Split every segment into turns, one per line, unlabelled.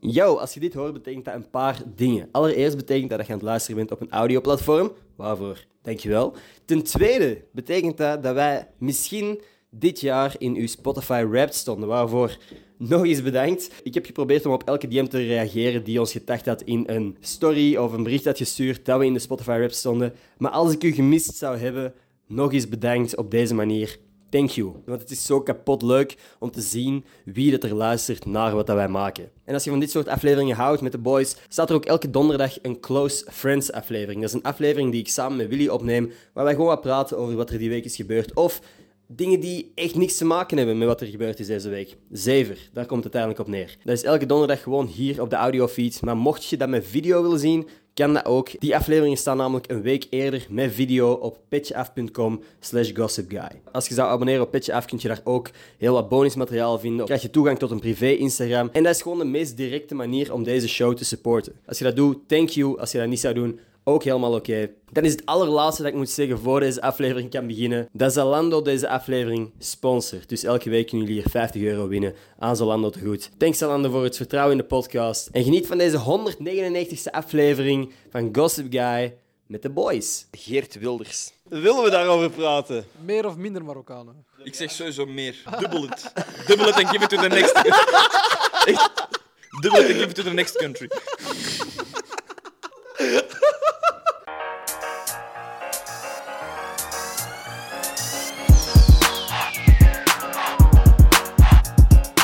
Yo, als je dit hoort, betekent dat een paar dingen. Allereerst betekent dat dat je aan het luisteren bent op een audioplatform. Waarvoor, dankjewel. Ten tweede betekent dat dat wij misschien dit jaar in uw Spotify Wrapped stonden. Waarvoor, nog eens bedankt. Ik heb geprobeerd om op elke DM te reageren die ons getacht had in een story of een bericht had gestuurd dat we in de Spotify Wrapped stonden. Maar als ik u gemist zou hebben, nog eens bedankt op deze manier. Thank you. Want het is zo kapot leuk om te zien wie dat er luistert naar wat dat wij maken. En als je van dit soort afleveringen houdt met de boys, staat er ook elke donderdag een Close Friends aflevering. Dat is een aflevering die ik samen met Willy opneem, waar wij gewoon wat praten over wat er die week is gebeurd. Of dingen die echt niks te maken hebben met wat er gebeurd is deze week. Zever, daar komt het uiteindelijk op neer. Dat is elke donderdag gewoon hier op de audiofeed. Maar mocht je dat met video willen zien, kan dat ook. Die afleveringen staan namelijk een week eerder met video op pitchaf.com slash gossipguy. Als je zou abonneren op Pitchaf, kun je daar ook heel wat bonusmateriaal vinden. Krijg je toegang tot een privé Instagram. En dat is gewoon de meest directe manier om deze show te supporten. Als je dat doet, thank you. Als je dat niet zou doen, ook helemaal oké. Dan is het allerlaatste dat ik moet zeggen voor deze aflevering kan beginnen. Dat Zalando deze aflevering sponsort. Dus elke week kunnen jullie hier 50 euro winnen aan Zalando te goed. Thanks Zalando voor het vertrouwen in de podcast. En geniet van deze 199ste aflevering van Gossip Guy met de boys. Geert Wilders. Willen we daarover praten?
Meer of minder Marokkanen?
Ik zeg sowieso meer. Dubbel het. Dubbel het en give it to the next country. Echt. Dubbel het en give it to the next country.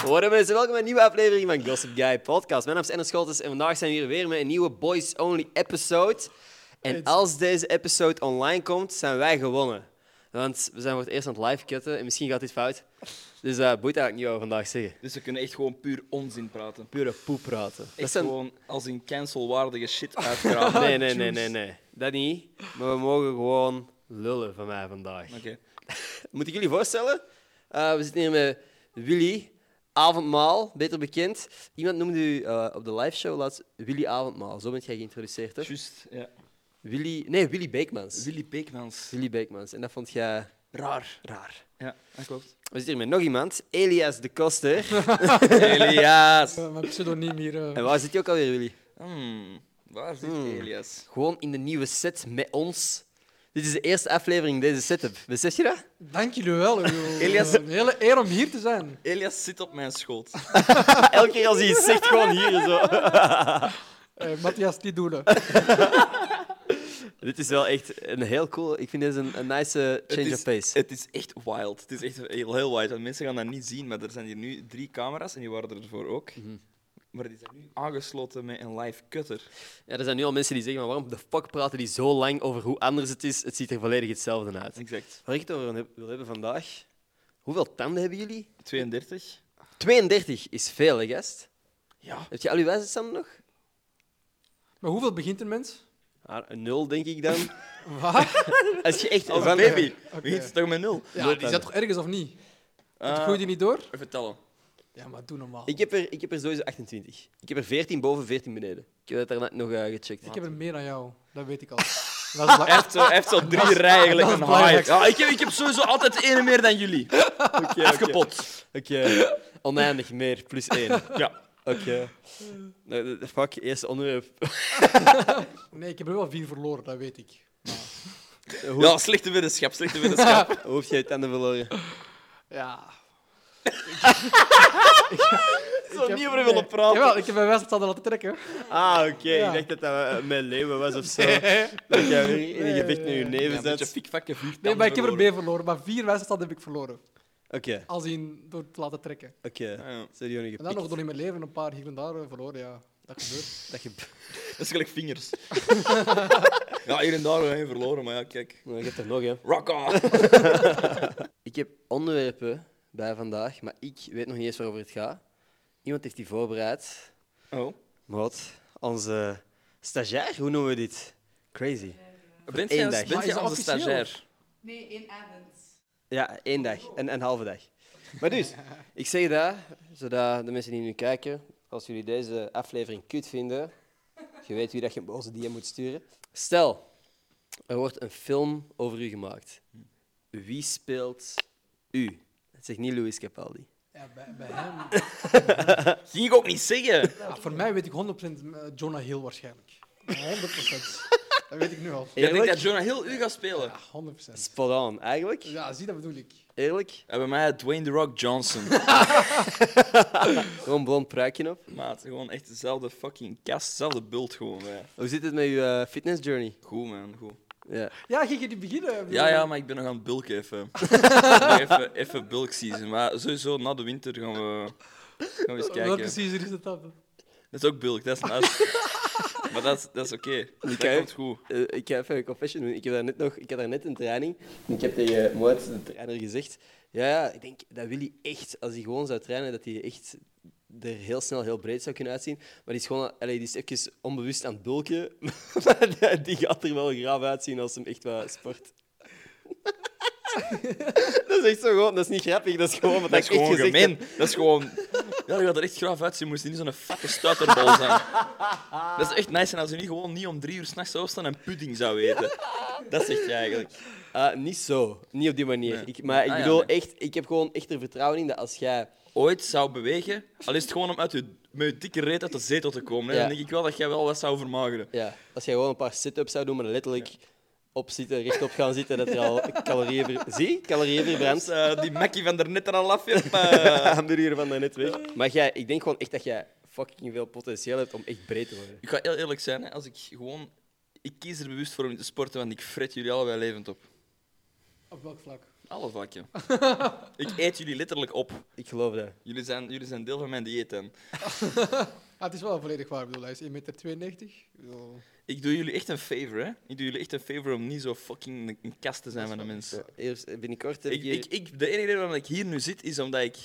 Hoi mensen, welkom bij een nieuwe aflevering van Gossip Guy Podcast. Mijn naam is Enne Scholtes en vandaag zijn we hier weer met een nieuwe Boys Only episode. En als deze episode online komt, zijn wij gewonnen. Want we zijn voor het eerst aan het live cutten en misschien gaat dit fout. Dus dat boeit eigenlijk niet wat we vandaag zeggen.
Dus we kunnen echt gewoon puur onzin praten.
Pure poep praten.
Echt
Dat zijn...
gewoon als een cancelwaardige shit uitgraven.
Nee, nee, nee, nee, nee. Dat niet. Maar we mogen gewoon lullen van mij vandaag.
Oké.
Moet ik jullie voorstellen? Eh, we zitten hier met Willy Avondmaal, beter bekend. Iemand noemde u eh, op de liveshow laatst Willy Avondmaal. Zo bent jij geïntroduceerd, hè?
Juist, ja.
Willy... Nee, Willy Beekmans.
Willy Beekmans.
Willy Beekmans. En dat vond jij
Raar.
raar.
Ja, dat klopt.
We zitten hier met nog iemand, Elias de Koster. Elias!
Eh, mijn pseudoniem hier. eh.
En waar zit je ook alweer, Willy?
Hmm, waar zit Elias?
Gewoon in de nieuwe set met ons. Dit is de eerste aflevering deze setup. Besef je dat?
Dank jullie wel. ik bedoel,
Elias-
eh, Een hele eer om hier te zijn.
Elias zit op mijn schoot.
Ah, Elke keer als hij iets zegt, gewoon hier zo.
Eh Matthias, die doelen.
Dit is wel echt een heel cool... Ik vind dit een, een nice eh,
Het
change
is-
of pace.
Het is echt wild. Het is echt heel, heel wild. Want mensen gaan dat niet zien, maar er zijn hier nu drie camera's en die waren er ervoor ook. Maar die zijn nu aangesloten met een live cutter.
Ja, er zijn nu al mensen die zeggen, maar waarom de fuck praten die zo lang over hoe anders het is? Het ziet er volledig hetzelfde uit.
Exact.
Waar ik het over heb- wil hebben vandaag... Hoeveel tanden hebben jullie?
32.
32 is veel, hè, gast?
Ja.
Heb je al je wijzenstammen nog?
Maar hoeveel begint een mens?
Ah, een nul, denk ik dan.
Wat?
Als je echt...
Als
van-
baby. Begint het toch met nul? Ah.
Ja, die zat toch ergens of niet? Het groeit die niet door?
Vertellen.
Ah. Ja, maar doe normaal.
Ik heb, er, ik heb er sowieso 28. Ik heb er 14 boven, 14 beneden. Ik heb dat daarnet nog eh, gecheckt.
Ik heb er meer dan jou. Dat weet ik al. Dat is bla-
Hij heeft zo, hij heeft zo drie rijen gelijk
dat is
een haai.
belangrijk.
Ja, ik, heb, ik heb sowieso altijd de ene meer dan jullie. Afgepot.
Oké. Oneindig meer, plus één.
Ja.
Oké. Nou, de- fuck, eerste onderwerp.
Nee, ik heb er wel vier verloren, dat weet ik. Maar-
Hoe,
ja, slechte wetenschap, slechte wetenschap.
hoe heb jij tanden verloren?
Ja.
Zo
heb-
niet over willen
nee.
praten.
Jawel, ik heb mijn wijsheid laten trekken.
Ah, oké.
Ja.
Ik dacht dat dat eh, mijn leeuwen was of zo. Dat jij weer in een gevecht met je neven
een beetje
zat.
pikvakken vuur.
Nee, maar ik heb er meer verloren. Maar vier wijsheid heb ik verloren.
Oké,
Als in door te laten trekken.
oké.
Ah, Ja.
Serieus,
En dan nog
gepikt.
door in mijn leven een paar hier en daar eh, verloren, ja. Dat gebeurt.
Dat je...
Dat is gelijk vingers. ja, hier en daar hebben we verloren, maar ja, kijk.
Nou, ik heb er nog, hè.
Rock on!
Ik heb onderwerpen bij vandaag, maar ik weet nog niet eens waarover het gaat. Iemand heeft die voorbereid.
Oh.
Maar wat? Onze stagiair? Hoe noemen we dit? Crazy.
Bent
één
jij,
dag.
bent
Maar is
jij
dat
onze
officieel?
stagiair?
Nee, één avond.
Ja, één dag. En een halve dag. Maar dus, ik zeg dat, zodat de mensen die nu kijken, als jullie deze aflevering kut vinden, je weet wie dat je een boze DM moet sturen. Stel, er wordt een film over u gemaakt. Wie speelt u? Het zegt niet Louis Capaldi.
Ja, bij, bij hem.
Ging ik ook niet zeggen.
Ja, voor mij weet ik 100% Jonah Hill waarschijnlijk. 100%. Dat weet ik nu al.
Ik denk
Eerlijk?
dat Jonah heel u gaat spelen.
Ja, 100%.
Spot on, eigenlijk.
Ja, zie, dat bedoel ik.
Eerlijk.
En bij mij Dwayne The Rock Johnson.
Gewoon blond pruikje op.
Maat, gewoon echt dezelfde fucking kast, dezelfde bult gewoon. Bij.
Hoe zit het met je eh, fitness journey?
Goed man, goed.
Ja.
Ja, ging je die beginnen?
Ja, ja, maar ik ben nog aan het bulken even. Nog even, even bulk season. Maar sowieso na de winter gaan we, gaan we eens kijken.
Welke season is het dan?
Dat is ook bulk, dat is naast. maar dat is, dat is oké. Dat
kan je-
komt goed.
Eh, ik ga even een confession doen. Ik, heb daar net nog, ik had daar net een training. En ik heb tegen Moed, de trainer, gezegd... Ja, ja, ik denk dat Willy echt, als hij gewoon zou trainen, dat hij echt er heel snel heel breed zou kunnen uitzien. Maar die is gewoon... Allee, die is even onbewust aan het bulken. Maar die gaat er wel graaf uitzien als hem echt wat sport. dat is echt zo gewoon... Dat is niet grappig, dat is gewoon wat
Dat is
ik echt
gewoon
gezegd
gemeen.
heb.
Dat is gewoon... Ja, dat gaat er echt graaf uitzien. Moest je niet zo'n vette stuiterbal zijn. Dat is echt nice. En als je niet gewoon niet om drie uur s'nachts zou opstaan en pudding zou eten. Dat zeg je eigenlijk.
Ah, niet zo. Niet op die manier.
Nee.
Ik, maar ik
Ah, ja,
bedoel,
nee.
echt, ik heb gewoon echt er vertrouwen in dat als jij...
Ooit zou bewegen, al is het gewoon om uit je, met je dikke reet uit de zetel te komen. Hè,
Ja.
Dan denk ik wel dat jij wel wat zou vermageren.
Ja, als jij gewoon een paar sit-ups zou doen, maar letterlijk opzitten, rechtop gaan zitten, dat er al calorieën... Ver... Zie? Calorieën verbrand.
Dus, eh, die Mackie van daarnet er al af. Jep,
Hamburger van daarnet weg. Maar jij, ik denk gewoon echt dat jij fucking veel potentieel hebt om echt breed te worden.
Ik ga heel eerlijk zijn, hè. als ik gewoon... Ik kies er bewust voor om niet te sporten, want ik fret jullie allebei levend op.
Op welk vlak?
Alle vakken. ik eet jullie letterlijk op.
Ik geloof dat.
Jullie zijn, jullie zijn deel van mijn dieet. En
Ah, het is wel volledig waar. Ik bedoel, hij is 1,92 meter.
ik doe jullie echt een favor, hè. Ik doe jullie echt een favor om niet zo fucking een- een kast te zijn van de
Ja,
mensen.
Eerst binnenkort heb ik
Ik,
hier...
ik, ik, de enige reden waarom ik hier nu zit, is omdat ik...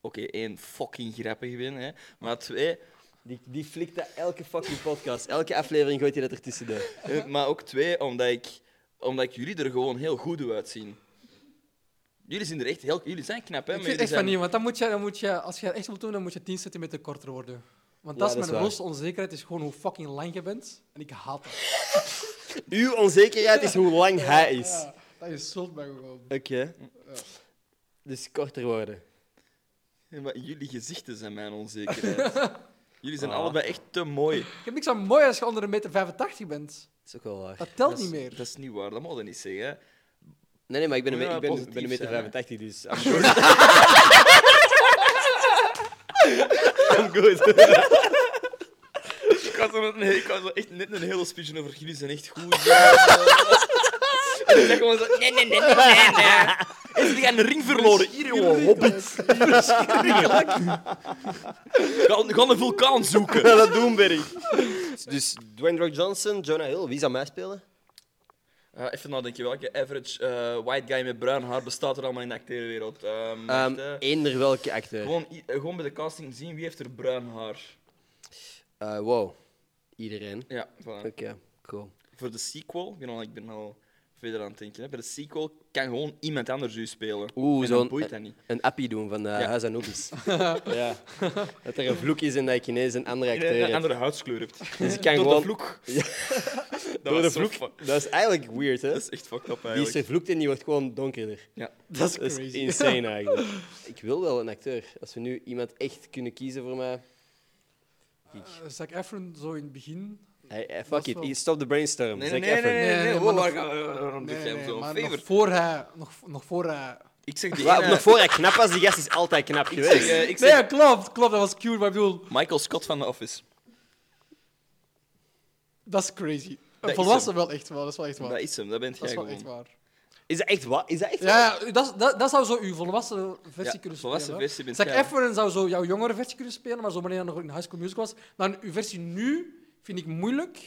Oké, één, fucking grappig ben, hè. Maar twee,
Die, die flikt dat elke fucking podcast. Elke aflevering gooit hij dat er tussendoor.
Eh, Maar ook twee, omdat ik, omdat ik jullie er gewoon heel goed doe uitzien. Jullie zien er echt heel... Jullie zijn knap, hè?
ik
maar jullie
vind het echt van
zijn...
niet, want dan moet je, dan moet je, als je het echt wilt doen, dan moet je 10 centimeter korter worden.
Ja,
Want dat
dat
is
is
mijn
waar.
grootste onzekerheid, is gewoon hoe fucking lang je bent. En ik haat dat.
Uw onzekerheid is hoe lang hij is.
Ja, dat insult mij gewoon.
Oké. Dus korter worden.
Ja, maar jullie gezichten zijn mijn onzekerheid. jullie
Ah.
zijn allebei echt te mooi.
Ik heb niks aan mooi als je onder een meter 85 bent.
Dat is ook wel waar.
Dat telt
Dat is-
niet meer.
Dat is niet waar, dat mag je niet zeggen. hè.
Nee, nee, maar ik ben, een,
Moet
me-
je
ik
wel
ben, ik ben een
positief
meter
zijn, hè?
85, dus... I'm good. I'm good.
Ik had, zo net een- ik had zo echt net een hele speech over jullie zijn echt goed. ja, zo. en dan zeg gewoon zo... Nee, nee, nee, nee, nee. nee. En ze gaan een ring verloren. Hier, jongen. Hobbit. Verschrikkelijk. Ga, ga een vulkaan zoeken.
Ja, dat doen, Berry. Dus Dwayne Rock Johnson, Jonah Hill, wie zou mij spelen?
Eh, even nadenken, welke average eh, white guy met bruin haar bestaat er allemaal in de acteerwereld? Ehm, wacht,
Eender
eh.
eender welke acteur.
gewoon, i- eh, gewoon bij de casting zien wie heeft er bruin haar.
Eh, wow. Iedereen.
Ja, voilà.
Oké, cool.
Voor de sequel, ik ben al, ik ben al verder aan het denken. Hè. Bij de sequel kan gewoon iemand anders u spelen.
Oeh,
en dan
zo'n
boeit dat niet.
een, een appie doen van eh
Ja.
Huis Anubis. ja. Dat er een vloek is en dat ik ineens een andere
En een
acteur heb.
andere huidskleur hebt.
Dus ik kan
Door
gewoon...
de vloek.
Ja.
dat
Door de
was zo
vloek.
fu-
Dat is eigenlijk weird, hè?
Dat is echt fucked up
Die is
eigenlijk.
vervloekt en die wordt gewoon donkerder.
Ja.
Dat is,
crazy.
insane eigenlijk. ik wil wel een acteur. Als we nu iemand echt kunnen kiezen voor mij.
Eh, Zac Efron, zo in het begin.
Hey, eh,
Dat
fuck
is
it,
wel-
Hier, stop the brainstorm.
Nee,
Zeg
nee, nee, nee, nee,
Nee, nee,
wow,
maar
waar
nog-
gaan we- waarom doe
Nee,
jij hem
nee,
zo?
maar
Favor.
nog voor hij... Nog, nog voor eh, hij...
Ik zeg die
Wauw,
ene-
nog voor hij knap was, die gast is altijd knap
ik zeg,
geweest.
eh, ik
Nee,
zeg
ja, klopt, klopt, dat was cute, maar ik bedoel,
Michael Scott van The Office.
dat is crazy.
Dat
Een
is
volwassen wel echt wel, dat is wel echt waar.
Dat is hem, dat bent
Dat
jij
is wel
gewoon.
echt waar.
Is dat echt wat? Is dat echt waar?
Ja, ja, dat, is- dat, dat zou zo uw volwassen versie
Ja,
kunnen
volwassen
spelen.
versie bent
Zac
jij.
Efron zou zo jouw jongere versie kunnen spelen, maar zo wanneer hij nog in High School Musical was. Dan uw versie nu vind ik moeilijk.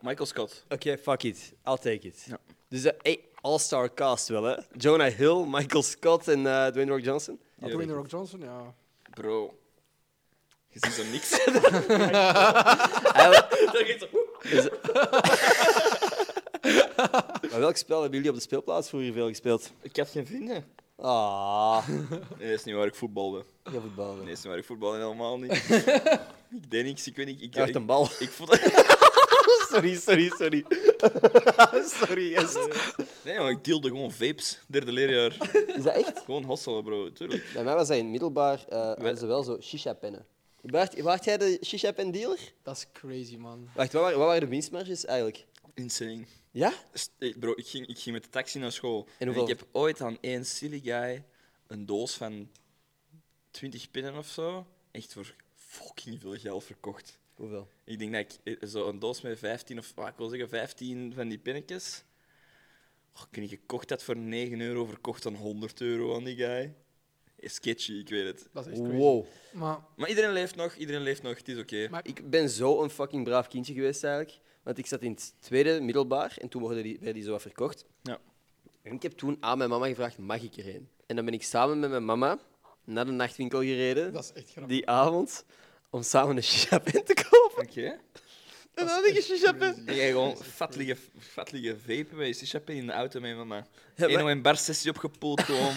Michael Scott.
Oké, fuck it. I'll take it.
Ja.
Dus eh, hey, all-star cast wel, hè? Jonah Hill, Michael Scott en eh, Dwayne Rock Johnson.
Ja,
Dwayne The Rock Johnson, ja.
Bro. Je ziet zo niks.
Eigenlijk-
Dan geeft ze-
is- maar welk spel hebben jullie op de speelplaats vroeger veel gespeeld?
Ik had geen vrienden.
Ah,
Nee, dat is niet waar ik voetbal ben.
ik heb voetbal.
Nee, dat is niet waar ik voetbal helemaal niet. ik deed niks, ik weet niet. Ik,
Je had
ik,
een bal.
ik, voelde...
sorry, sorry, sorry. sorry, yes.
Nee, maar ik deelde gewoon vapes. Derde leerjaar.
Is dat echt?
Gewoon hosselen, bro. Tuurlijk.
Bij mij was dat in het middelbaar, eh hadden ze wel zo shisha-pennen. Bart, waart jij de shisha-pen-dealer?
Dat is crazy, man.
Wacht, wat waren, wat waren de winstmarges eigenlijk?
Insane.
Ja?
St- eh, Bro, ik ging, ik ging met de taxi naar school. En,
hoeveel-
ik heb ooit aan één silly guy een doos van 20 pinnen of zo echt voor fucking veel geld verkocht.
Hoeveel?
Ik denk dat ik eh, zo een doos met 15 of wat ik wil zeggen, 15 van die pinnetjes. Oh, ik weet niet, gekocht had voor 9 euro, verkocht aan 100 euro aan die guy. Eh, Sketchy, ik weet het.
Dat is echt crazy.
Wow.
Maar
Maar iedereen leeft nog, iedereen leeft nog, het is oké.
Maar-
Ik ben zo een fucking braaf kindje geweest eigenlijk. Want ik zat in het tweede middelbaar en toen werden die, werden die zo wat verkocht.
Ja.
En ik heb toen aan mijn mama gevraagd, mag ik erheen? En dan ben ik samen met mijn mama naar de nachtwinkel gereden,
dat is echt grappig.
die avond, om samen een shisha-pen te kopen.
Oké.
En dan had ik een shisha-pen.
En jij gewoon fat liggen, fat liggen vapen bij je shisha-pen in de auto met je mama.
maar-
Eén een bar sessie opgepoeld, gewoon.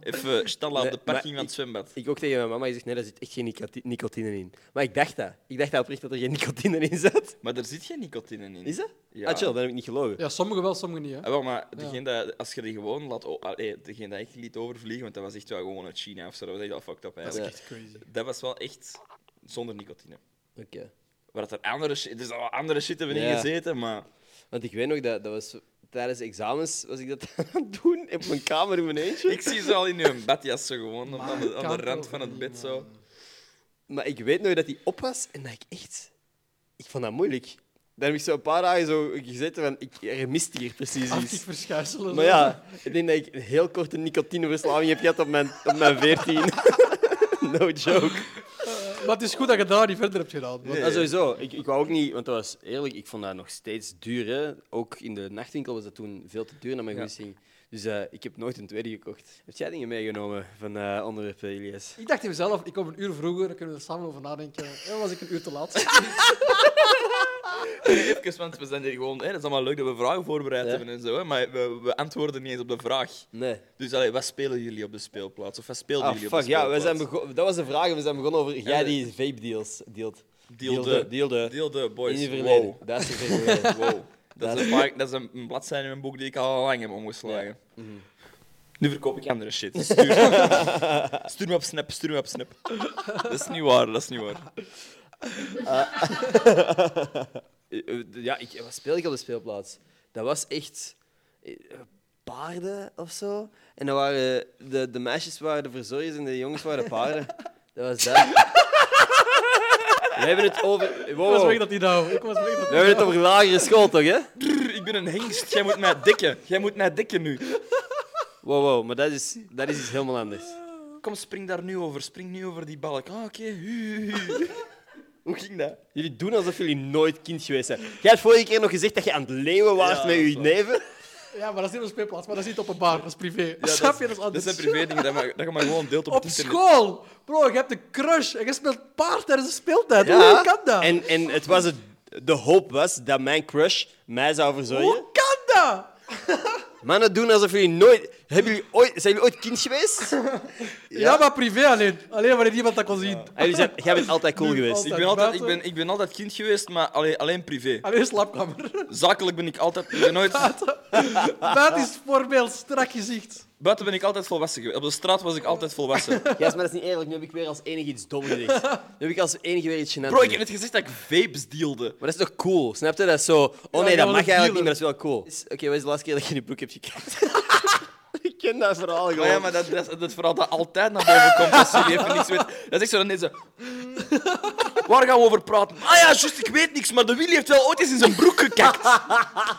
Even stallen op
Nee,
de
maar
parking van het zwembad.
Ik ook tegen mijn mama gezegd, nee, daar zit echt geen nicoti- nicotine in. Maar ik dacht dat. Ik dacht dat oprecht dat er geen nicotine in zat.
Maar er zit geen nicotine in.
Is dat?
Ja.
Ah, chill, dat heb ik niet gelogen.
Ja, sommigen wel, sommigen niet. Hè.
Ah, wel, maar degene dat, als je die gewoon laat... o- allee, degene dat ik liet overvliegen, want dat was echt wel gewoon uit China of zo. Dat was echt al fucked up,
Dat is
eigenlijk.
echt crazy.
Dat was wel echt zonder nicotine.
Oké.
Waar dat er andere shit... Dus al andere shit hebben
Ja.
ingezeten, maar...
Want ik weet nog, dat, dat was, tijdens examens was ik dat aan het doen op mijn kamer in mijn eentje.
Ik zie ze al in hun badjas zo gewoon, op- aan de, aan
kan
de rand
toch
van het
niet,
bed zo.
Maar ik weet nog dat die op was en dat ik echt... Ik vond dat moeilijk. Daar heb ik zo een paar dagen zo gezeten van, ik, er mist hier precies
Actief
iets.
verschuiselen.
Maar
zo.
ja, ik denk dat ik een heel korte nicotineverslaving heb gehad op mijn, op mijn 14. no joke.
Maar het is goed dat je daar niet verder hebt gedaan. want-
Ja, sowieso. Ik, ik wou ook niet, want dat was eerlijk, ik vond dat nog steeds duur. Hè. Ook in de nachtwinkel was dat toen veel te duur naar mijn
Ja.
goesting. Dus eh, ik heb nooit een tweede gekocht. Heb jij dingen meegenomen van eh onderwerpen, Elias?
Ik dacht in mezelf, ik kom een uur vroeger, dan kunnen we er samen over nadenken. En was ik een uur te laat.
Nee, Even, want we zijn hier gewoon... Hè, dat is allemaal leuk dat we vragen voorbereid
Ja.
hebben en zo, hè, maar we, we antwoorden niet eens op de vraag.
Nee.
Dus allee, wat spelen jullie op de speelplaats? Of wat speelden
Ah,
jullie op de
fuck, ja, we
speelplaats?
zijn begon- dat was de vraag. We zijn begonnen over jij
nee.
die vape deals deelt.
Deelde.
Deelde.
Deelde, boys.
In je verleden.
wow.
Dat is de verleden.
Wow. Dat,
Dat-
is een paar- dat is een een bladzijde in mijn boek die ik al lang heb omgeslagen.
Mhm.
Nu verkoop ik andere shit. Stuur me, stuur me op snap, stuur me op snap. Dat is niet waar, dat is niet waar.
Ah.
Eh, eh, ja, ik, wat speelde ik op de speelplaats? Dat was echt eh, paarden of zo. En dan waren de, de meisjes waren de verzorgers en de jongens waren de paarden. Dat was dat. We hebben het over.
Ik was
Wow.
weg dat die nou. Ik was weg dat
We hebben het over lagere school, toch? Hè?
Brr, Ik ben een hengst, jij moet mij dikken. Jij moet mij dikken nu.
Wow, wow, maar dat is, dat is iets helemaal anders.
Kom, spring daar nu over, spring nu over die balk. Ah, oké. hu, hu, hu. Hoe ging dat?
Jullie doen alsof jullie nooit kind geweest zijn. Jij hebt vorige keer nog gezegd dat je aan het leeuwen was
Ja,
met
dat is
je
waar.
neven.
Ja, maar dat is niet op een speelplaats, maar dat is niet op een bar, dat is privé. Snap je? Dat is
Dat
anders.
zijn privé dingen, dat, mag, dat je maar gewoon deelt op,
op
het internet.
school! Bro, je hebt een crush en je speelt paard tijdens de speeltijd.
Ja.
Hoe kan dat?
En, en het was het, de hoop was dat mijn crush mij zou verzorgen.
Hoe kan dat?
Mannen doen alsof jullie nooit... Hebben jullie ooit, zijn jullie ooit kind geweest? En
Ja, maar privé alleen. Alleen wanneer iemand dat kon zien.
Ah, jullie zijn, jij bent altijd cool
Nu
geweest.
altijd.
Ik ben, altijd, ik, ben, ik ben altijd kind geweest, maar alleen, alleen privé.
Alleen slaapkamer.
Zakelijk ben ik altijd... Ik ben nooit,
Dat is voorbeeld strak gezicht.
Buiten ben ik altijd volwassen geweest. Op de straat was ik altijd volwassen.
Ja, maar dat is niet eerlijk. Nu heb ik weer als enige iets dom gezegd. Nu heb ik als enige weer iets gênants
Bro, ik heb
gezegd.
net gezegd dat ik vapes dealde.
Maar dat is toch cool? Snap je? Dat is zo... Oh nee,
ja,
dat mag
dat is
eigenlijk niet, maar dat is wel cool. Is- Oké, wat is de laatste keer dat je die broek hebt Oh gekregen? ik ken dat verhaal gewoon.
Maar Oh ja, maar dat, dat, dat verhaal dat altijd naar boven komt als jullie even niks weten. Dat is echt zo dan deze... mm, Waar gaan we over praten? Ah ja, juist, ik weet niks, maar de Willy heeft wel ooit eens in zijn broek gekakt.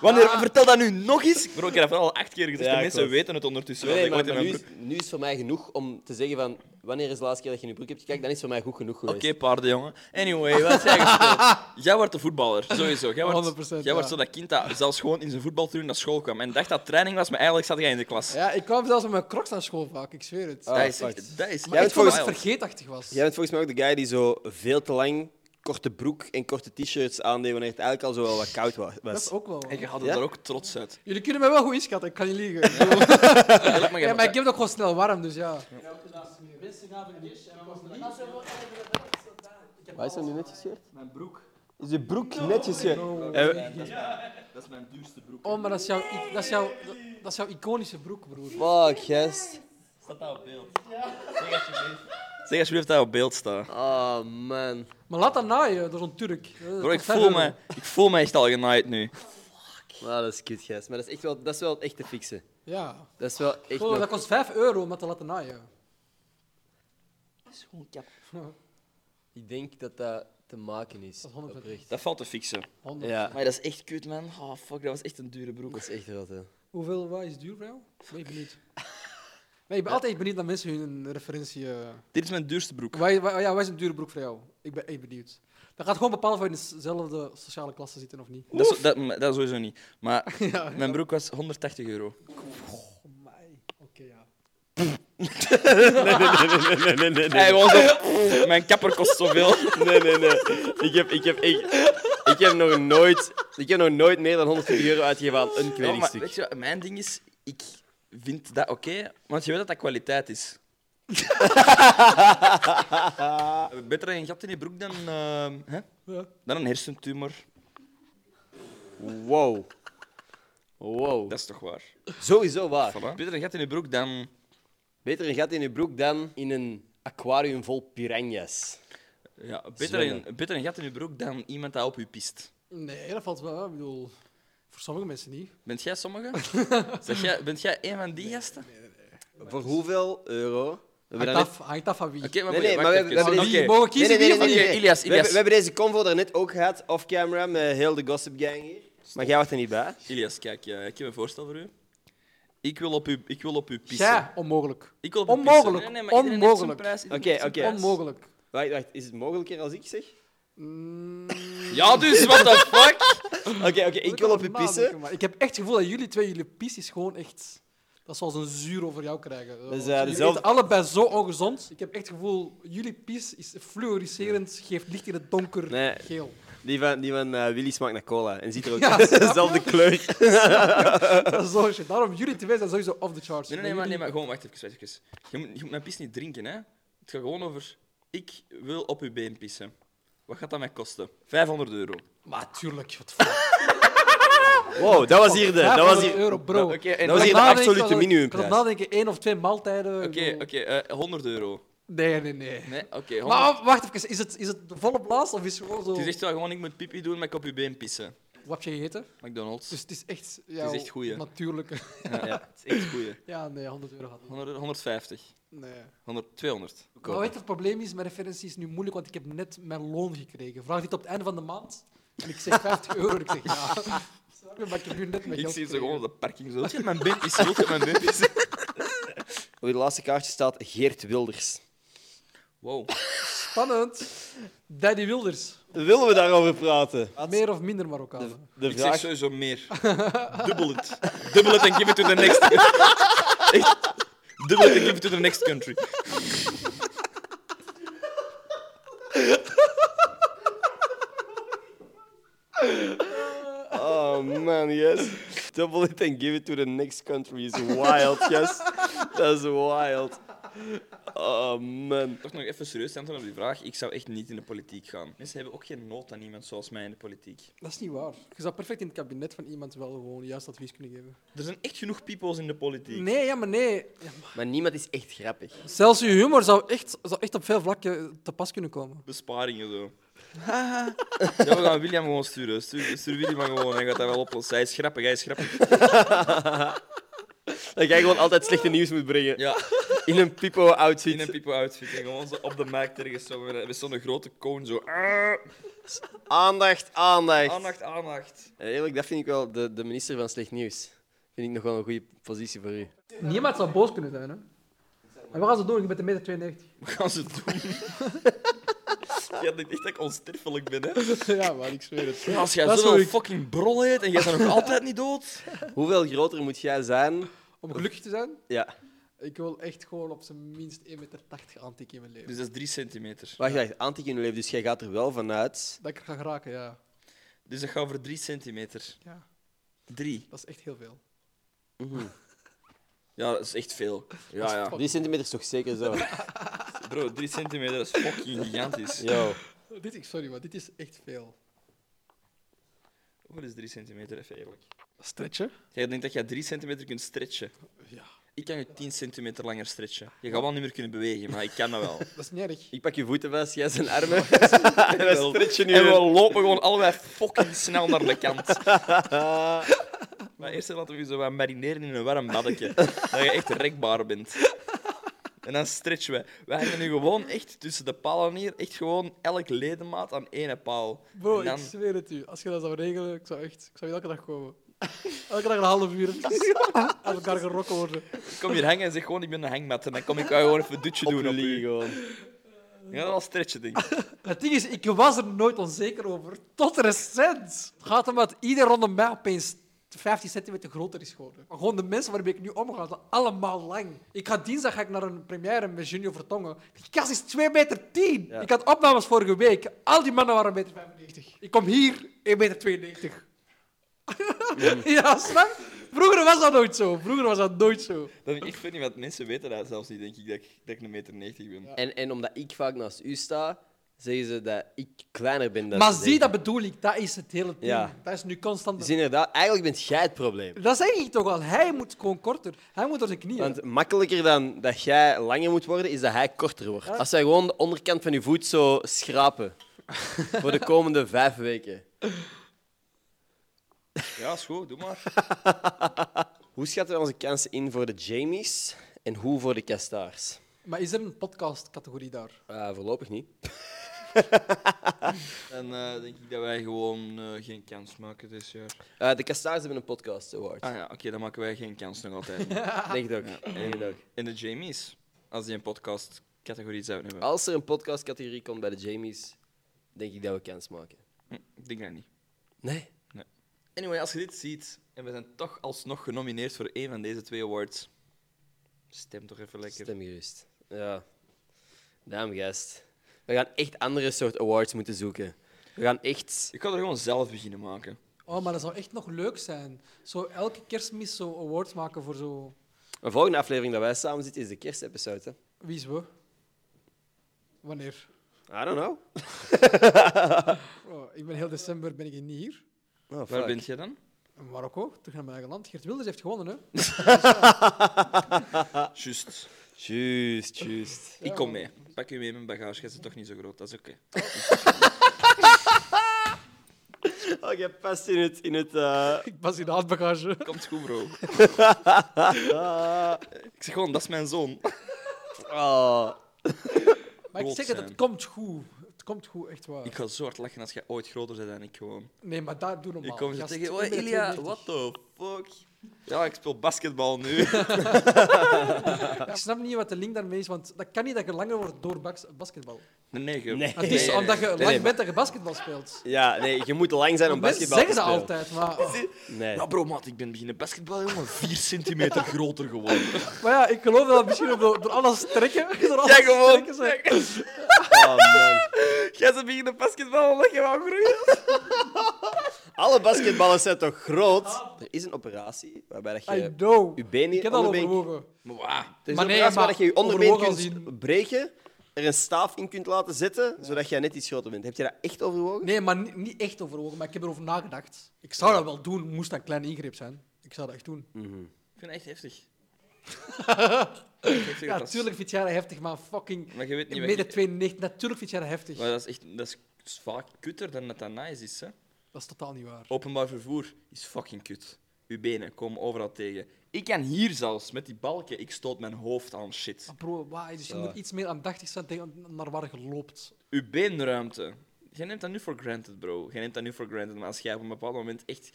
Wanneer, vertel dat nu nog eens. Bro, ik heb dat al acht keer gezegd.
Ja,
de mensen
klopt.
weten het ondertussen wel.
Nee,
dat ik
maar,
ooit in
maar nu,
mijn
is,
broek-
nu is het voor mij genoeg om te zeggen van... Wanneer is de laatste keer dat je in je broek hebt gekeken? Dan is het voor mij goed genoeg geweest.
Oké, paardenjongen. Anyway, wat heb jij gespeeld? Jij wordt de voetballer, sowieso. Jij wordt,
100%,
jij wordt zo
ja.
dat kind dat zelfs gewoon in zijn voetbaltrui naar school kwam en dacht dat training was, maar eigenlijk zat jij in de klas.
Ja, ik kwam zelfs met mijn crocs naar school vaak, ik zweer het.
Ah,
dat is
fuck.
echt... Dat is
Jij bent
ik vond dat het
wild.
vergeetachtig was.
Jij bent volgens mij ook de guy die zo veel te lang korte broek en korte t-shirts aandeed wanneer het eigenlijk al zo wel wat koud wa-
Dat is
was.
ook wel waar.
En je had
Ja?
er ook trots uit.
Jullie kunnen mij wel goed inschatten, ik kan niet liegen.
Eerlijk, maar jij
Ja, maar ik
bent-
heb het ook gewoon snel warm, dus ja.
Wat is er nu net gescheurd? Mijn broek. Is je broek netjes... ge- Eh,
Dat is mijn duurste broek.
Oh, maar dat is, jouw, i- dat, is jouw, dat is jouw iconische broek, broer.
Fuck, gest.
Staat dat op beeld? Zeg alsjeblieft. Zeg alsjeblieft dat dat op beeld staat.
Oh, man.
Maar laat dat naaien, dat is een Turk.
Bro, ik voel, me, ik voel me echt al genaaid nu.
Ah, dat is kut, gest. Maar dat is, echt wel, dat is wel echt te fixen.
Ja.
Dat is wel echt
Goh,
nog-
dat kost 5 euro om dat te laten naaien.
Ik denk dat dat te maken is.
Dat is 100%.
Oprecht.
Dat valt te fixen.
100.
Ja,
Maar dat is echt kut, man. Oh, fuck, dat was echt een dure broek.
dat is echt wat, hè.
Hoeveel wat is het duur voor jou? Ben je benieuwd? Nee, ik ben altijd benieuwd naar mensen hun referentie. eh
Dit is mijn duurste broek.
Waar, waar- ja, waar is een dure broek voor jou? Ik ben echt benieuwd. Dat gaat gewoon bepalen of je in dezelfde sociale klasse zit of niet.
Dat, is- dat, dat sowieso niet. Maar mijn broek was 180 euro.
Oké, ja.
Hey, gewoon zo- Mijn kapper kost zoveel.
Nee, nee, nee. Ik heb, ik heb, ik, ik heb, nog, nooit, ik heb nog nooit meer dan 120 euro uitgegeven aan een
Ja, Oh, maar
kledingstuk.
weet je, wat, mijn ding is, ik vind dat oké, want je weet dat dat kwaliteit is. Beter een gat in je broek dan, ehm, hè?
Ja.
dan een hersentumor.
Wow. Wow.
Dat is toch waar?
sowieso waar.
Voilà. Beter een gat in je broek dan.
Beter een gat in je broek dan in een aquarium vol piranha's.
Ja, beter,
Zwemmen.
een, beter een gat in je broek dan iemand dat op je pist.
Nee, dat valt wel. Ik bedoel, voor sommige mensen niet.
Bent jij sommige? zeg jij, bent jij een van die gasten?
Voor hoeveel euro? We
Hangt af, hangt af van wie.
Oké, maar,
Nee, nee,
wacht
maar we
even.
hebben, we hebben
Oké.
deze...
We mogen kiezen
nee, nee, nee,
wie of
nee, nee.
niet? Oké, Ilias,
We hebben-
Ilias.
We hebben deze convo daarnet ook gehad, off-camera, met heel de gossip gang hier. Maar jij was er niet bij.
Ilias, kijk, eh, ik heb een voorstel voor u. Ik wil op u, ik wil op u pissen.
Ja, onmogelijk.
Ik wil op u
Onmogelijk,
pissen. maar iedereen heeft zijn
onmogelijk.
prijs, iedereen
Oké,
heeft zijn
oké.
prijs.
Onmogelijk.
Wacht, wacht, is het mogelijker als ik zeg?
Mm,
Ja, dus, what the fuck?
Oké, oké, ik wil op je pissen.
nadenken, maar Ik heb echt het gevoel dat jullie twee, jullie pis is gewoon echt... Dat is zoals een zuur over jou krijgen.
is, eh,
jullie
dezelfde-
eten allebei zo ongezond. Ik heb echt het gevoel, jullie pis is fluoriserend, geeft licht in het donker
Nee.
geel.
Die van, die van eh, Willy smaakt naar cola en ziet er ook
Ja, snap je?
dezelfde kleur.
Dat is zo shit. Daarom, jullie twee zijn sowieso off the charts.
Nee, nee, nee, maar, nee,
jullie-
maar gewoon, wacht even, wacht even. Je moet, je moet mijn pis niet drinken, hè. Het gaat gewoon over, ik wil op uw been pissen. Wat gaat dat mij kosten? 500 euro.
Maar tuurlijk, wat voor...
Wow, dat was hier de... Dat was
500
hier... Nou,
euro, bro.
Nou, Oké, en-
Dat was
oké,
hier de
Nadenken,
absolute
ik was- Ik
minimumprijs.
kan nadenken, één of twee maaltijden. ik bedoel-
oké, eh, 100 euro.
Nee, nee, nee.
Nee, oké, 100
Maar wacht even, is het, is het de volle blaas of is het gewoon zo...
Het is echt wel gewoon, ik moet pipi doen, maar ik op uw been pissen.
Wat heb je gegeten?
McDonald's.
Dus het is echt jouw
echt goeie.
natuurlijke...
Ja, het is echt goeie.
Ja, nee, 100 euro gaat niet.
100, 150.
Nee.
100, 200.
Maar weet je, het probleem is, mijn referentie is nu moeilijk, want ik heb net mijn loon gekregen. Vraag dit op het einde van de maand. En ik zeg 50 euro, ik zeg ja. Snap je? Maar ik heb nu net mijn
Ik
geld
zie ze
gekregen.
gewoon op de parking zo. Wil je mijn been pissen? Wil je mijn been pissen?
Op je laatste kaartje staat Geert Wilders.
Wow.
Spannend. Daddy Wilders.
Willen we daarover praten?
Meer of minder Marokkanen.
De
Ik zeg
vraag...
sowieso meer. Dubbel het. Dubbel het en give it to the next. Echt. Dubbel het en give it to the next country.
Oh man, yes. Double it and give it to the next country is wild, yes. Dat is wild. Oh man.
Toch nog even serieus te antwoorden op die vraag. Ik zou echt niet in de politiek gaan. Mensen hebben ook geen nood aan iemand zoals mij in de politiek.
Dat is niet waar. Je zou perfect in het kabinet van iemand wel gewoon juist advies kunnen geven.
Er zijn echt genoeg people's in de politiek.
Nee, ja, maar nee. Ja, maar-
Maar niemand is echt grappig.
Zelfs je humor zou echt, zou echt op veel vlakken te pas kunnen komen.
Besparingen zo. ja, we gaan William gewoon sturen. Stuur, stuur William maar gewoon, hij gaat dat wel oplossen. Hij is grappig, hij is grappig.
Dat jij gewoon altijd slechte nieuws moet brengen.
Ja,
In een pipo-outfit.
in een people outfit. En gewoon zo op de markt ergens zo met, met zo'n grote cone zo. Ah,
Aandacht, aandacht.
Aandacht, aandacht.
Eh, Eerlijk, dat vind ik wel de, de minister van slecht nieuws. Vind ik nog wel een goede positie voor u.
Niemand zou boos kunnen zijn, hè? En wat gaan ze doen? Ik ben de meter 92.
Wat gaan ze doen? Jij denkt echt dat ik onsterfelijk ben, hè?
ja, maar ik zweer het.
Ja, als jij
Dat is
zo'n
hoe ik-
fucking brol heet en jij bent nog altijd niet dood.
Hoeveel groter moet jij zijn?
Om gelukkig te zijn,
Ja.
ik wil echt gewoon op zijn minst 1,80 meter aantikken in mijn leven.
Dus dat is 3 centimeter.
Wacht, wacht. Antiek in uw leven, dus jij gaat er wel vanuit.
Dat ik er ga geraken, ja.
Dus dat gaat over 3 centimeter.
ja.
3.
Dat is echt heel veel.
Ja, dat is echt veel. Ja, ja.
Drie centimeter is toch zeker zo?
Bro, 3 centimeter dat is fucking gigantisch.
Yo.
Dit, is- sorry, maar dit is echt veel.
Ook wel eens 3 centimeter, even eerlijk.
Stretchen?
Jij denkt dat jij 3 centimeter kunt stretchen.
Ja.
Ik kan je 10 centimeter langer stretchen. Je gaat wel niet meer kunnen bewegen, maar ik kan dat wel.
Dat is niet erg.
Ik pak je voeten vast, jij zijn armen.
En we
stretchen nu
En we
weer.
lopen gewoon allebei fucking snel naar de kant. Maar eerst laten we je zo wat marineren in een warm baddetje. Dat je echt rekbaar bent. En dan stretchen we. We hangen nu gewoon echt tussen de palen hier, echt gewoon elk ledemaat aan één paal.
Bro,
en dan,
ik zweer het u. Als je dat zou regelen, ik zou echt... Ik zou hier elke dag komen. Elke dag een half uur. Aan elkaar gerokken worden.
ik kom hier hangen en zeg gewoon, ik ben een hangmat. En dan kom ik jou gewoon even een dutje doen op
Opliegen
je.
gewoon.
Ja, dat is al stretchen, denk ik.
Het ding is, ik was er nooit onzeker over. Tot recent. Het gaat om dat iedereen rondom mij opeens 15 centimeter groter is geworden. Maar gewoon de mensen waarmee ik nu omga, zijn allemaal lang. Ik ga dinsdag ga ik naar een première met Junior Vertongen. Die kast is 2,10 meter.
Ja.
Ik had opnames vorige week. Al die mannen waren 1,95 meter. 95. Ik kom hier 1,92 meter. 92. ja, snap? je? Vroeger was dat nooit zo. Vroeger was dat nooit zo.
Dat vind ik vind niet, want mensen weten dat zelfs niet, denk ik, dat ik, dat ik een meter 90 ben.
En, en omdat ik vaak naast u sta, zeggen ze dat ik kleiner ben dan
maar
ze
zie,
denken.
dat bedoel ik. Dat is het hele ding.
Ja.
Dat is nu constant...
Dus inderdaad, eigenlijk bent jij het probleem.
Dat zeg ik toch al. Hij moet gewoon korter. Hij moet door zijn knieën.
Want makkelijker dan dat jij langer moet worden, is dat hij korter wordt. Als jij gewoon de onderkant van je voet zo schrapen. voor de komende vijf weken.
Ja, is goed, doe maar.
Hoe schatten we onze kansen in voor de Jamies en hoe voor de Kastaars?
Maar is er een podcast-categorie daar?
Eh, voorlopig niet.
Dan eh, denk ik dat wij gewoon eh, geen kans maken dit jaar.
Eh, de Kastaars hebben een podcast award.
Ah ja, oké, dan maken wij geen kans nog altijd.
Denk het ook. Denk het ook.
En de Jamies, als die een podcast-categorie zouden
Ah.
hebben.
Als er een podcastcategorie komt bij de Jamies, denk ik dat we kans maken.
Hm, Ik denk dat niet.
Nee.
Anyway, als je dit ziet en we zijn toch alsnog genomineerd voor één van deze twee awards, stem toch even lekker.
Stem gerust. Ja. Damn, gast. We gaan echt andere soort awards moeten zoeken. We gaan echt...
Ik ga er gewoon zelf beginnen maken.
Oh, maar dat zou echt nog leuk zijn. Zo elke kerstmis zo awards maken voor zo...
Een volgende aflevering dat wij samen zitten is de kerstepisode. hè?
Wie is we? Wanneer?
I don't know.
Oh, ik ben heel december ben ik niet hier.
Oh,
Waar
fuck.
bent je dan?
In Marokko, terug naar mijn eigen land. Geert Wilders heeft gewonnen, hè? Ah.
Juist.
Juist, juist.
Ik kom mee. Pak u mee in mijn bagage, jij bent toch niet zo groot, dat is oké.
Oh, jij past in het... In het eh,
Ik was in de handbagage.
Komt goed, bro.
ah.
ik zeg gewoon, dat is mijn zoon.
oh.
Maar ik
Rot
zeg het, het
zijn.
komt goed. Het komt goed, echt waar.
Ik ga zo hard lachen als jij ooit groter bent dan ik gewoon.
Nee, maar daar doe normaal.
Ik kom je
Gast,
tegen,
ik
oh
ben
Ilia, what
92.
the fuck? Ja, ik speel basketbal nu.
Ik snap niet wat de link daarmee is, want dat kan niet dat je langer wordt door bas- basketbal.
Nee, ge-
Nee.
Het
Nee,
is Dus omdat je
nee,
lang
nee,
bent dat je basketbal speelt.
Ja, nee, je moet lang zijn om
Mensen
basketbal te
zeggen
spelen.
ze altijd, maar...
Nee.
Ja, bro, maat, ik ben beginnen basketballen, jongen. Vier centimeter groter geworden.
Maar ja, ik geloof dat misschien ook door, door alles trekken. Door alles
Ja, gewoon.
trekken ze-
Oh, man.
Jij ze beginnen basketballen omdat je wou groeien.
Alle basketballers zijn toch
Ah.
groot? Er is een operatie waarbij dat je...
I know.
Uw benen
ik heb dat al
onderbeen-
overwogen.
Maar waar?
Er is
Maar
een
nee,
operatie
maar
waar dat je je onderbeen
overwogen
kunt
als in-
breken, er een staaf in kunt laten zetten, zodat jij net iets groter bent. Heb je dat echt overwogen?
Nee, maar niet, niet echt overwogen, maar ik heb erover nagedacht. Ik zou dat wel doen, moest dat een kleine ingreep zijn. Ik zou dat echt doen.
Mhm.
Ik vind het echt heftig.
Ja, natuurlijk vind jij dat heftig, maar fucking...
Maar je weet niet wat
Mede
je-
92, natuurlijk vind jij dat heftig.
Maar dat is, echt, dat is vaak kutter dan dat dat nice is. Hè?
Dat is totaal niet waar.
Openbaar vervoer is fucking kut. Uw benen komen overal tegen. Ik kan hier zelfs, met die balken, ik stoot mijn hoofd aan shit.
Maar bro, wauw, dus je moet iets meer aandachtig zijn tegen naar waar je loopt.
Uw beenruimte. Jij neemt dat nu voor granted, bro. Jij neemt dat nu voor granted. Maar als jij op een bepaald moment echt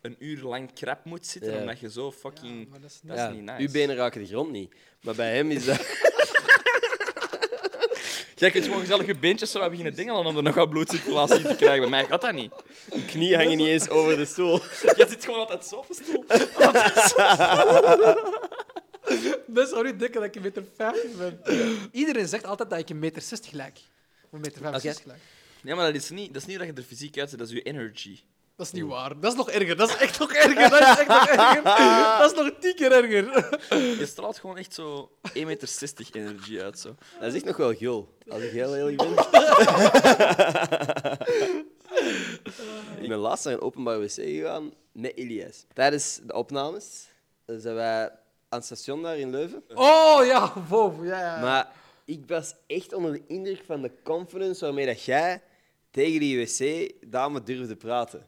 een uur lang krap moet zitten,
Ja.
omdat je zo fucking...
Ja, maar dat is
dat
nice.
is niet nice.
Uw benen raken de grond niet. Maar bij hem is dat...
Jij kunt gewoon gezellig je beentjes zo aan beginnen dingelen om er nog wat bloedcirculatie te krijgen. Bij mij gaat dat niet.
Je knieën hangen niet eens over de stoel.
Jij zit gewoon altijd zo op een stoel.
Mensen zouden niet denken dat ik een meter 50 ben. Iedereen zegt altijd dat ik een meter 60 lijk. Of een meter 65 lijk.
Nee, maar dat is niet, dat is niet dat je er fysiek uitziet, dat is je energy.
Dat
Hmm.
is niet waar. Dat is nog erger. Dat is echt nog erger. Dat is echt nog erger. Dat is nog tien keer erger.
Je straalt gewoon echt zo 1,60 meter energy uit. Zo.
Dat is echt nog wel gul, als ik heel eerlijk ben. Ik ben laatst naar een openbaar wc gegaan met Elias. Tijdens de opnames eh, zijn wij aan het station daar in Leuven.
Oh ja, wow, ja, ja.
Maar ik was echt onder de indruk van de confidence waarmee dat jij tegen die wc-dame durfde praten.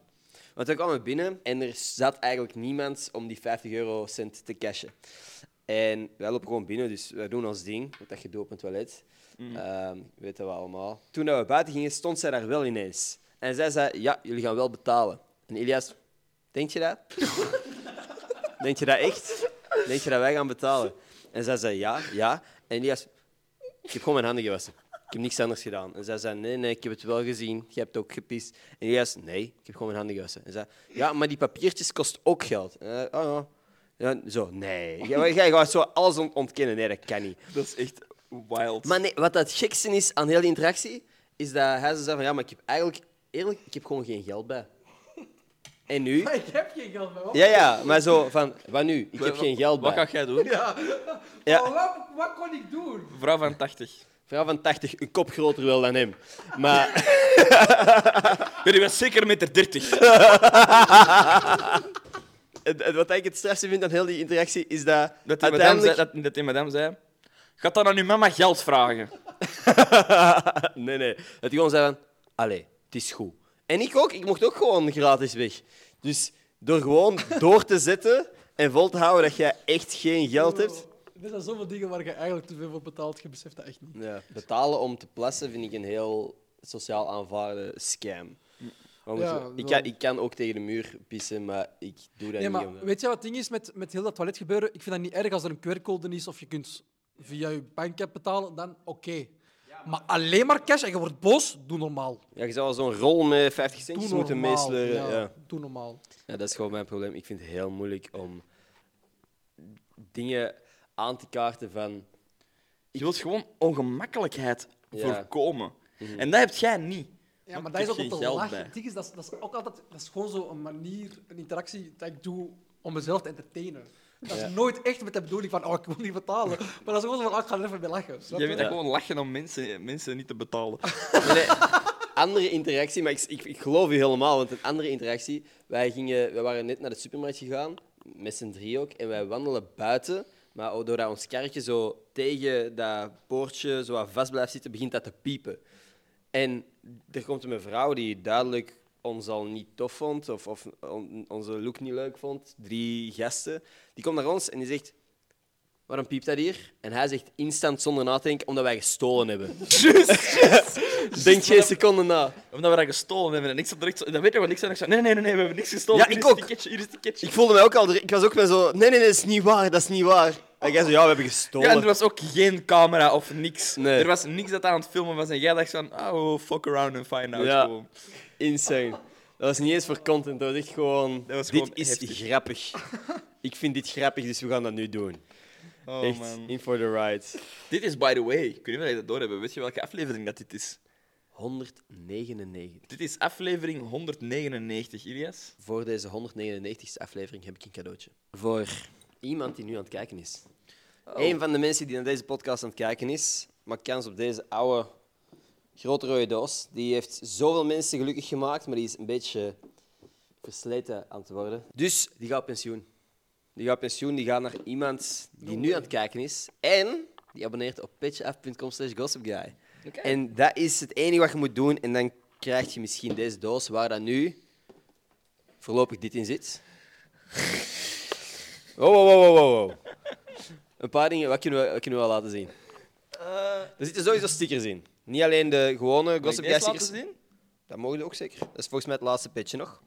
Want we kwamen binnen en er zat eigenlijk niemand om die 50 eurocent te cashen. En wij lopen gewoon binnen, dus wij doen ons ding. Wat dat gedoe op een toilet. Ehm, weten we allemaal. Toen dat we buiten gingen, stond zij daar wel ineens. En zij zei, ja, jullie gaan wel betalen. En Ilias, denk je dat? Denk je dat echt? Denk je dat wij gaan betalen? En zij zei ja, ja. En Elias, ik heb gewoon mijn handen gewassen. Ik heb niks anders gedaan. En zij zei, nee, nee, ik heb het wel gezien. Je hebt ook gepist. En Elias, nee, ik heb gewoon mijn handen gewassen. En zij, ja, maar die papiertjes kosten ook geld. En, hij, oh, ja. Ja, zo, nee. Jij, jij gaat zo alles ont- ontkennen. Nee, dat kan niet.
Dat is echt wild.
Maar nee, wat dat gekste is aan heel die interactie, is dat hij zo zei van, ja, maar ik heb eigenlijk, eerlijk, ik heb gewoon geen geld bij. En nu?
Maar ik heb geen geld bij wat-
Ja, ja, maar zo van, wat nu? Ik heb geen geld bij.
Wat ga jij doen?
Ja.
Ja.
Maar Oh, wat, wat kon ik doen?
Vrouw van 80.
Vrouw van 80, een kop groter wel dan hem. Maar
Jullie was zeker een meter 30.
het- het- wat ik het strafste vind aan heel die interactie is dat,
Dat die madame
uiteindelijk...
zei, dat, dat die madame zei... Gaat dan aan uw mama geld vragen?
nee, nee. Dat die gewoon zei van, allee, het is goed. En ik ook, ik mocht ook gewoon gratis weg. Dus door gewoon door te zetten en vol te houden dat jij echt geen geld hebt...
Er zijn zoveel dingen waar je eigenlijk te veel voor betaalt, je beseft dat echt niet.
Ja, betalen om te plassen vind ik een heel sociaal aanvaarde scam. Want
Ja,
zo- ik,
wel.
kan, ik kan ook tegen de muur pissen, maar ik doe dat
Nee,
niet.
maar
omdat-
weet je wat het ding is met, met heel dat toiletgebeuren? Ik vind dat niet erg als er een QR-code is of je kunt via je bankapp betalen, dan oké. maar... alleen maar cash en je wordt boos, doe normaal.
Ja, je zou wel zo'n rol met 50
Doe
centjes
normaal.
moeten meesleuren. Ja. Ja.
Doe normaal.
dat is gewoon mijn probleem. Ik vind het heel moeilijk om dingen aan te kaarten van...
Je wilt gewoon ongemakkelijkheid
Ja. Mhm.
voorkomen. En dat heb jij niet.
Ja,
Want
maar
ik
dat is
heb
ook
geen
om te
geld
lachen.
bij.
Het ding is, dat, is, dat is ook altijd dat is gewoon zo'n manier, een interactie dat ik doe om mezelf te entertainen. Dat is
Ja.
nooit echt met de bedoeling van, oh, ik wil niet betalen. Maar dat is gewoon zo van, oh, ik ga er even mee lachen.
Jij
snap je?
vindt dat gewoon lachen om mensen, mensen niet te betalen.
Nee, andere interactie, maar ik, ik, ik geloof u helemaal, want een andere interactie... Wij, gingen, wij waren net naar de supermarkt gegaan, met z'n drie ook, en wij wandelen buiten... Maar ook doordat ons karretje zo tegen dat poortje zo wat vast blijft zitten, begint dat te piepen. En er komt een mevrouw die duidelijk ons al niet tof vond of, of on- onze look niet leuk vond. Drie gasten. Die komt naar ons en die zegt: Waarom piept dat hier? En hij zegt instant zonder nadenken, omdat wij gestolen hebben. Denk geen seconde na.
Omdat we dat gestolen hebben. En ik zat direct zo... Dan weet je wat ik zei. Ik zei, nee, nee, nee, nee, we hebben niks gestolen.
Ja,
Hier
ik
is het
ook.
ticketje, hier is het ticketje.
Ik voelde mij ook al. Ik was ook wel zo: Nee, nee, nee, dat is niet waar, dat is niet waar. En jij zo: Ja, we hebben
Ja, en er
gestolen.
was ook geen camera of niks.
Nee.
Er was niks dat aan het filmen was. En jij dacht van, oh, fuck around and find out.
Ja.
Gewoon.
Insane. Dat was niet eens voor content, dat was echt gewoon.
Dat was
dit
gewoon
is
heftig.
grappig. Ik vind dit grappig, dus we gaan dat nu doen.
Oh,
echt,
man.
in for the ride.
Dit is, by the way, ik weet niet of jullie dat doorhebben. Weet je welke aflevering dat dit is?
199.
Dit is aflevering 199, Ilias.
Voor deze 199ste aflevering heb ik een cadeautje. Voor iemand die nu aan het kijken is.
Oh.
Een van de mensen die naar deze podcast aan het kijken is, maakt kans op deze oude grote rode doos. Die heeft zoveel mensen gelukkig gemaakt, maar die is een beetje versleten aan het worden. Dus die gaat op pensioen. Die gaat op pensioen, die gaat naar iemand die nu aan het kijken is. En die abonneert op pitchaf.com slash gossipguy. En dat is het enige wat je moet doen. En dan krijg je misschien deze doos waar dat nu voorlopig dit in zit. Wow, wow, wow, wow, wow, wow. Een paar dingen, wat kunnen we, wat kunnen we wel laten zien? Er zitten sowieso stickers in. Niet alleen de gewone
Mag Eh, ik
Gossip Guy
deze laten
stickers.
zien?
Dat mogen we ook zeker. Dat is volgens mij het laatste petje nog.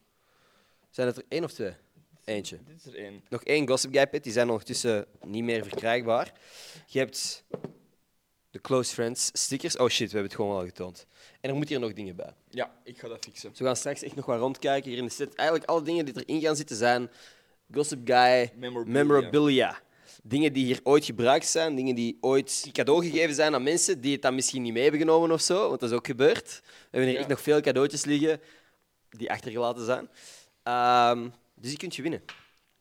Zijn het er één of twee? Eentje.
Dit is er één.
Nog één Gossip Guy pet, die zijn ondertussen niet meer verkrijgbaar. Je hebt de Close Friends stickers. Oh shit, we hebben het gewoon al getoond. En er moeten hier nog dingen bij.
Ja, ik ga dat fixen.
Dus we gaan straks echt nog wat rondkijken hier in de set. Eigenlijk alle dingen die erin gaan zitten zijn Gossip Guy,
Memorabilia.
memorabilia. Dingen die hier ooit gebruikt zijn, dingen die ooit cadeau gegeven zijn aan mensen die het dan misschien niet mee hebben genomen of zo, want dat is ook gebeurd. We hebben hier
Ja.
echt nog veel cadeautjes liggen die achtergelaten zijn. Ehm, dus je kunt je winnen.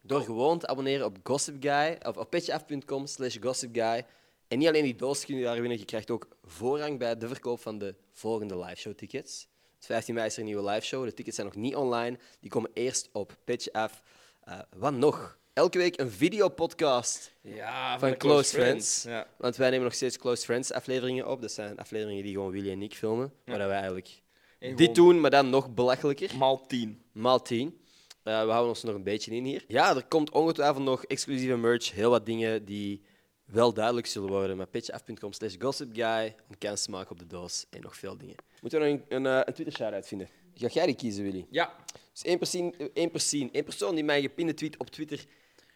Door gewoon te abonneren op Gossip Guy of op petjeaf.com slash Gossip Guy. En niet alleen die doos kun je daar winnen, je krijgt ook voorrang bij de verkoop van de volgende liveshow tickets. Dus 15 mei is er een nieuwe liveshow. De tickets zijn nog niet online. Die komen eerst op Pitch Af. Eh, wat nog? Elke week een videopodcast
Ja,
van
de
Close Friends.
Ja.
Want wij nemen nog steeds Close Friends afleveringen op. Dat zijn afleveringen die gewoon Willy en ik filmen. Maar dat wij eigenlijk
En
dit
gewoon
doen, maar dan nog belachelijker.
Maal tien.
Maal 10. Eh, we houden ons er nog een beetje in hier. Ja, er komt ongetwijfeld nog exclusieve merch. Heel wat dingen die wel duidelijk zullen worden. Maar pitchaf.com slash gossipguy om kans te maken op de doos. En nog veel dingen. Moeten we nog een, een, eh, een Twitter-shout-out vinden? Ga jij die kiezen, Willy?
Ja.
Dus één persoon, één, persoon, één persoon die mijn gepinde tweet op Twitter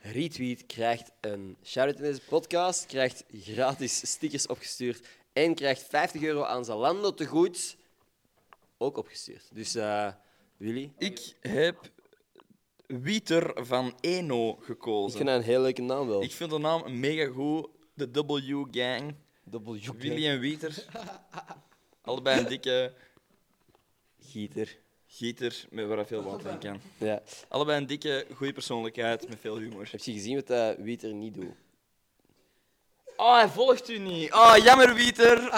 retweet, krijgt een shout-out in deze podcast, krijgt gratis stickers opgestuurd en krijgt 50 euro aan Zalando te goed. Ook opgestuurd. Dus eh, Willy,
Ik heb Wieter van Eno
ik
gekozen.
vind dat een heel leuke naam wel.
Ik vind de naam mega goed. De W-gang.
Double
Willy en Wieter. Allebei een dikke
Gieter.
gieter met waar hij veel wat aan kan.
Ja.
Allebei een dikke, goede persoonlijkheid met veel humor.
Heb je gezien wat eh, dat Wieter niet doet?
Oh, hij volgt u niet. Oh, jammer, Wieter.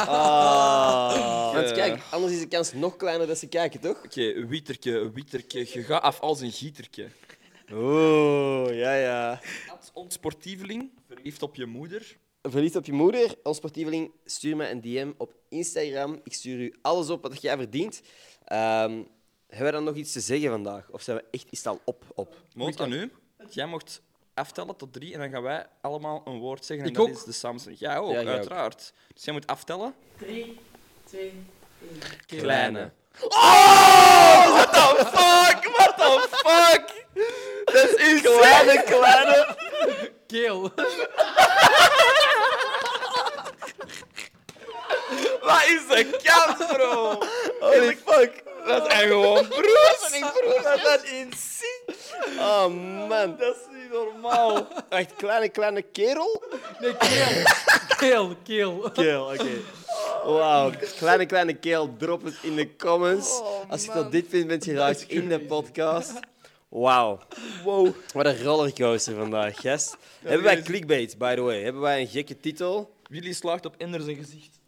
Want kijk, anders is de kans nog kleiner dat ze kijken, toch?
Oké, Wieterke, Wieterke. Je gaat af als een gieterke.
Oeh, Oh, ja, ja.
Onsportieveling, verliefd op je moeder.
Verliefd op je moeder, ons sportieveling, stuur me een DM op Instagram. Ik stuur u alles op wat jij verdient. Ehm, hebben wij dan nog iets te zeggen vandaag? Of zijn we echt is het al op? op?
Moot aan u. Jij mocht aftellen tot drie en dan gaan wij allemaal een woord zeggen. En
Ik
dat
ook.
is de Samsung. Jij ook,
Ja, jij ook.
uiteraard. Dus jij moet aftellen.
3, 2, 1.
Kleine.
Oh, Fuck, what the fuck? Dat is
Kleine, kleine.
Keel.
Wat is de kans, bro?
Holy fuck.
Dat is gewoon broers.
Wat dat insane. Oh man.
Dat is niet normaal.
Echt kleine, kleine kerel?
Nee, keel. Keel, keel.
Keel, oké. Wauw. Kleine, kleine keel, drop het in de comments. Als je dat dit vindt, bent je geraakt in de podcast. Wauw. Wow. Wat een rollercoaster vandaag, gast. Hebben wij
is-
clickbait, by the way? Hebben wij een gekke titel?
Willy slaagt op Ender zijn gezicht.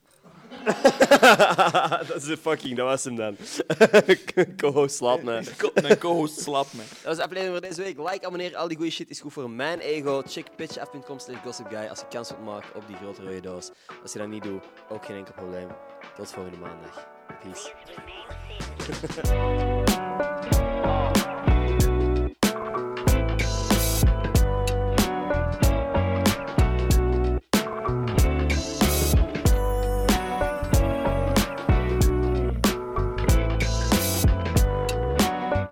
dat is de fucking, dat was hem dan. Coho slaapt me.
Ko- Mijn co-host slaapt me.
Dat was de aflevering voor deze week. Like, abonneer, al die goede shit is goed voor mijn ego. Check pitchaf.com slash gossipguy als je kans wilt maken op die grote rode doos. Als je dat niet doet, ook geen enkel probleem. Tot volgende maandag. Peace.
Peace.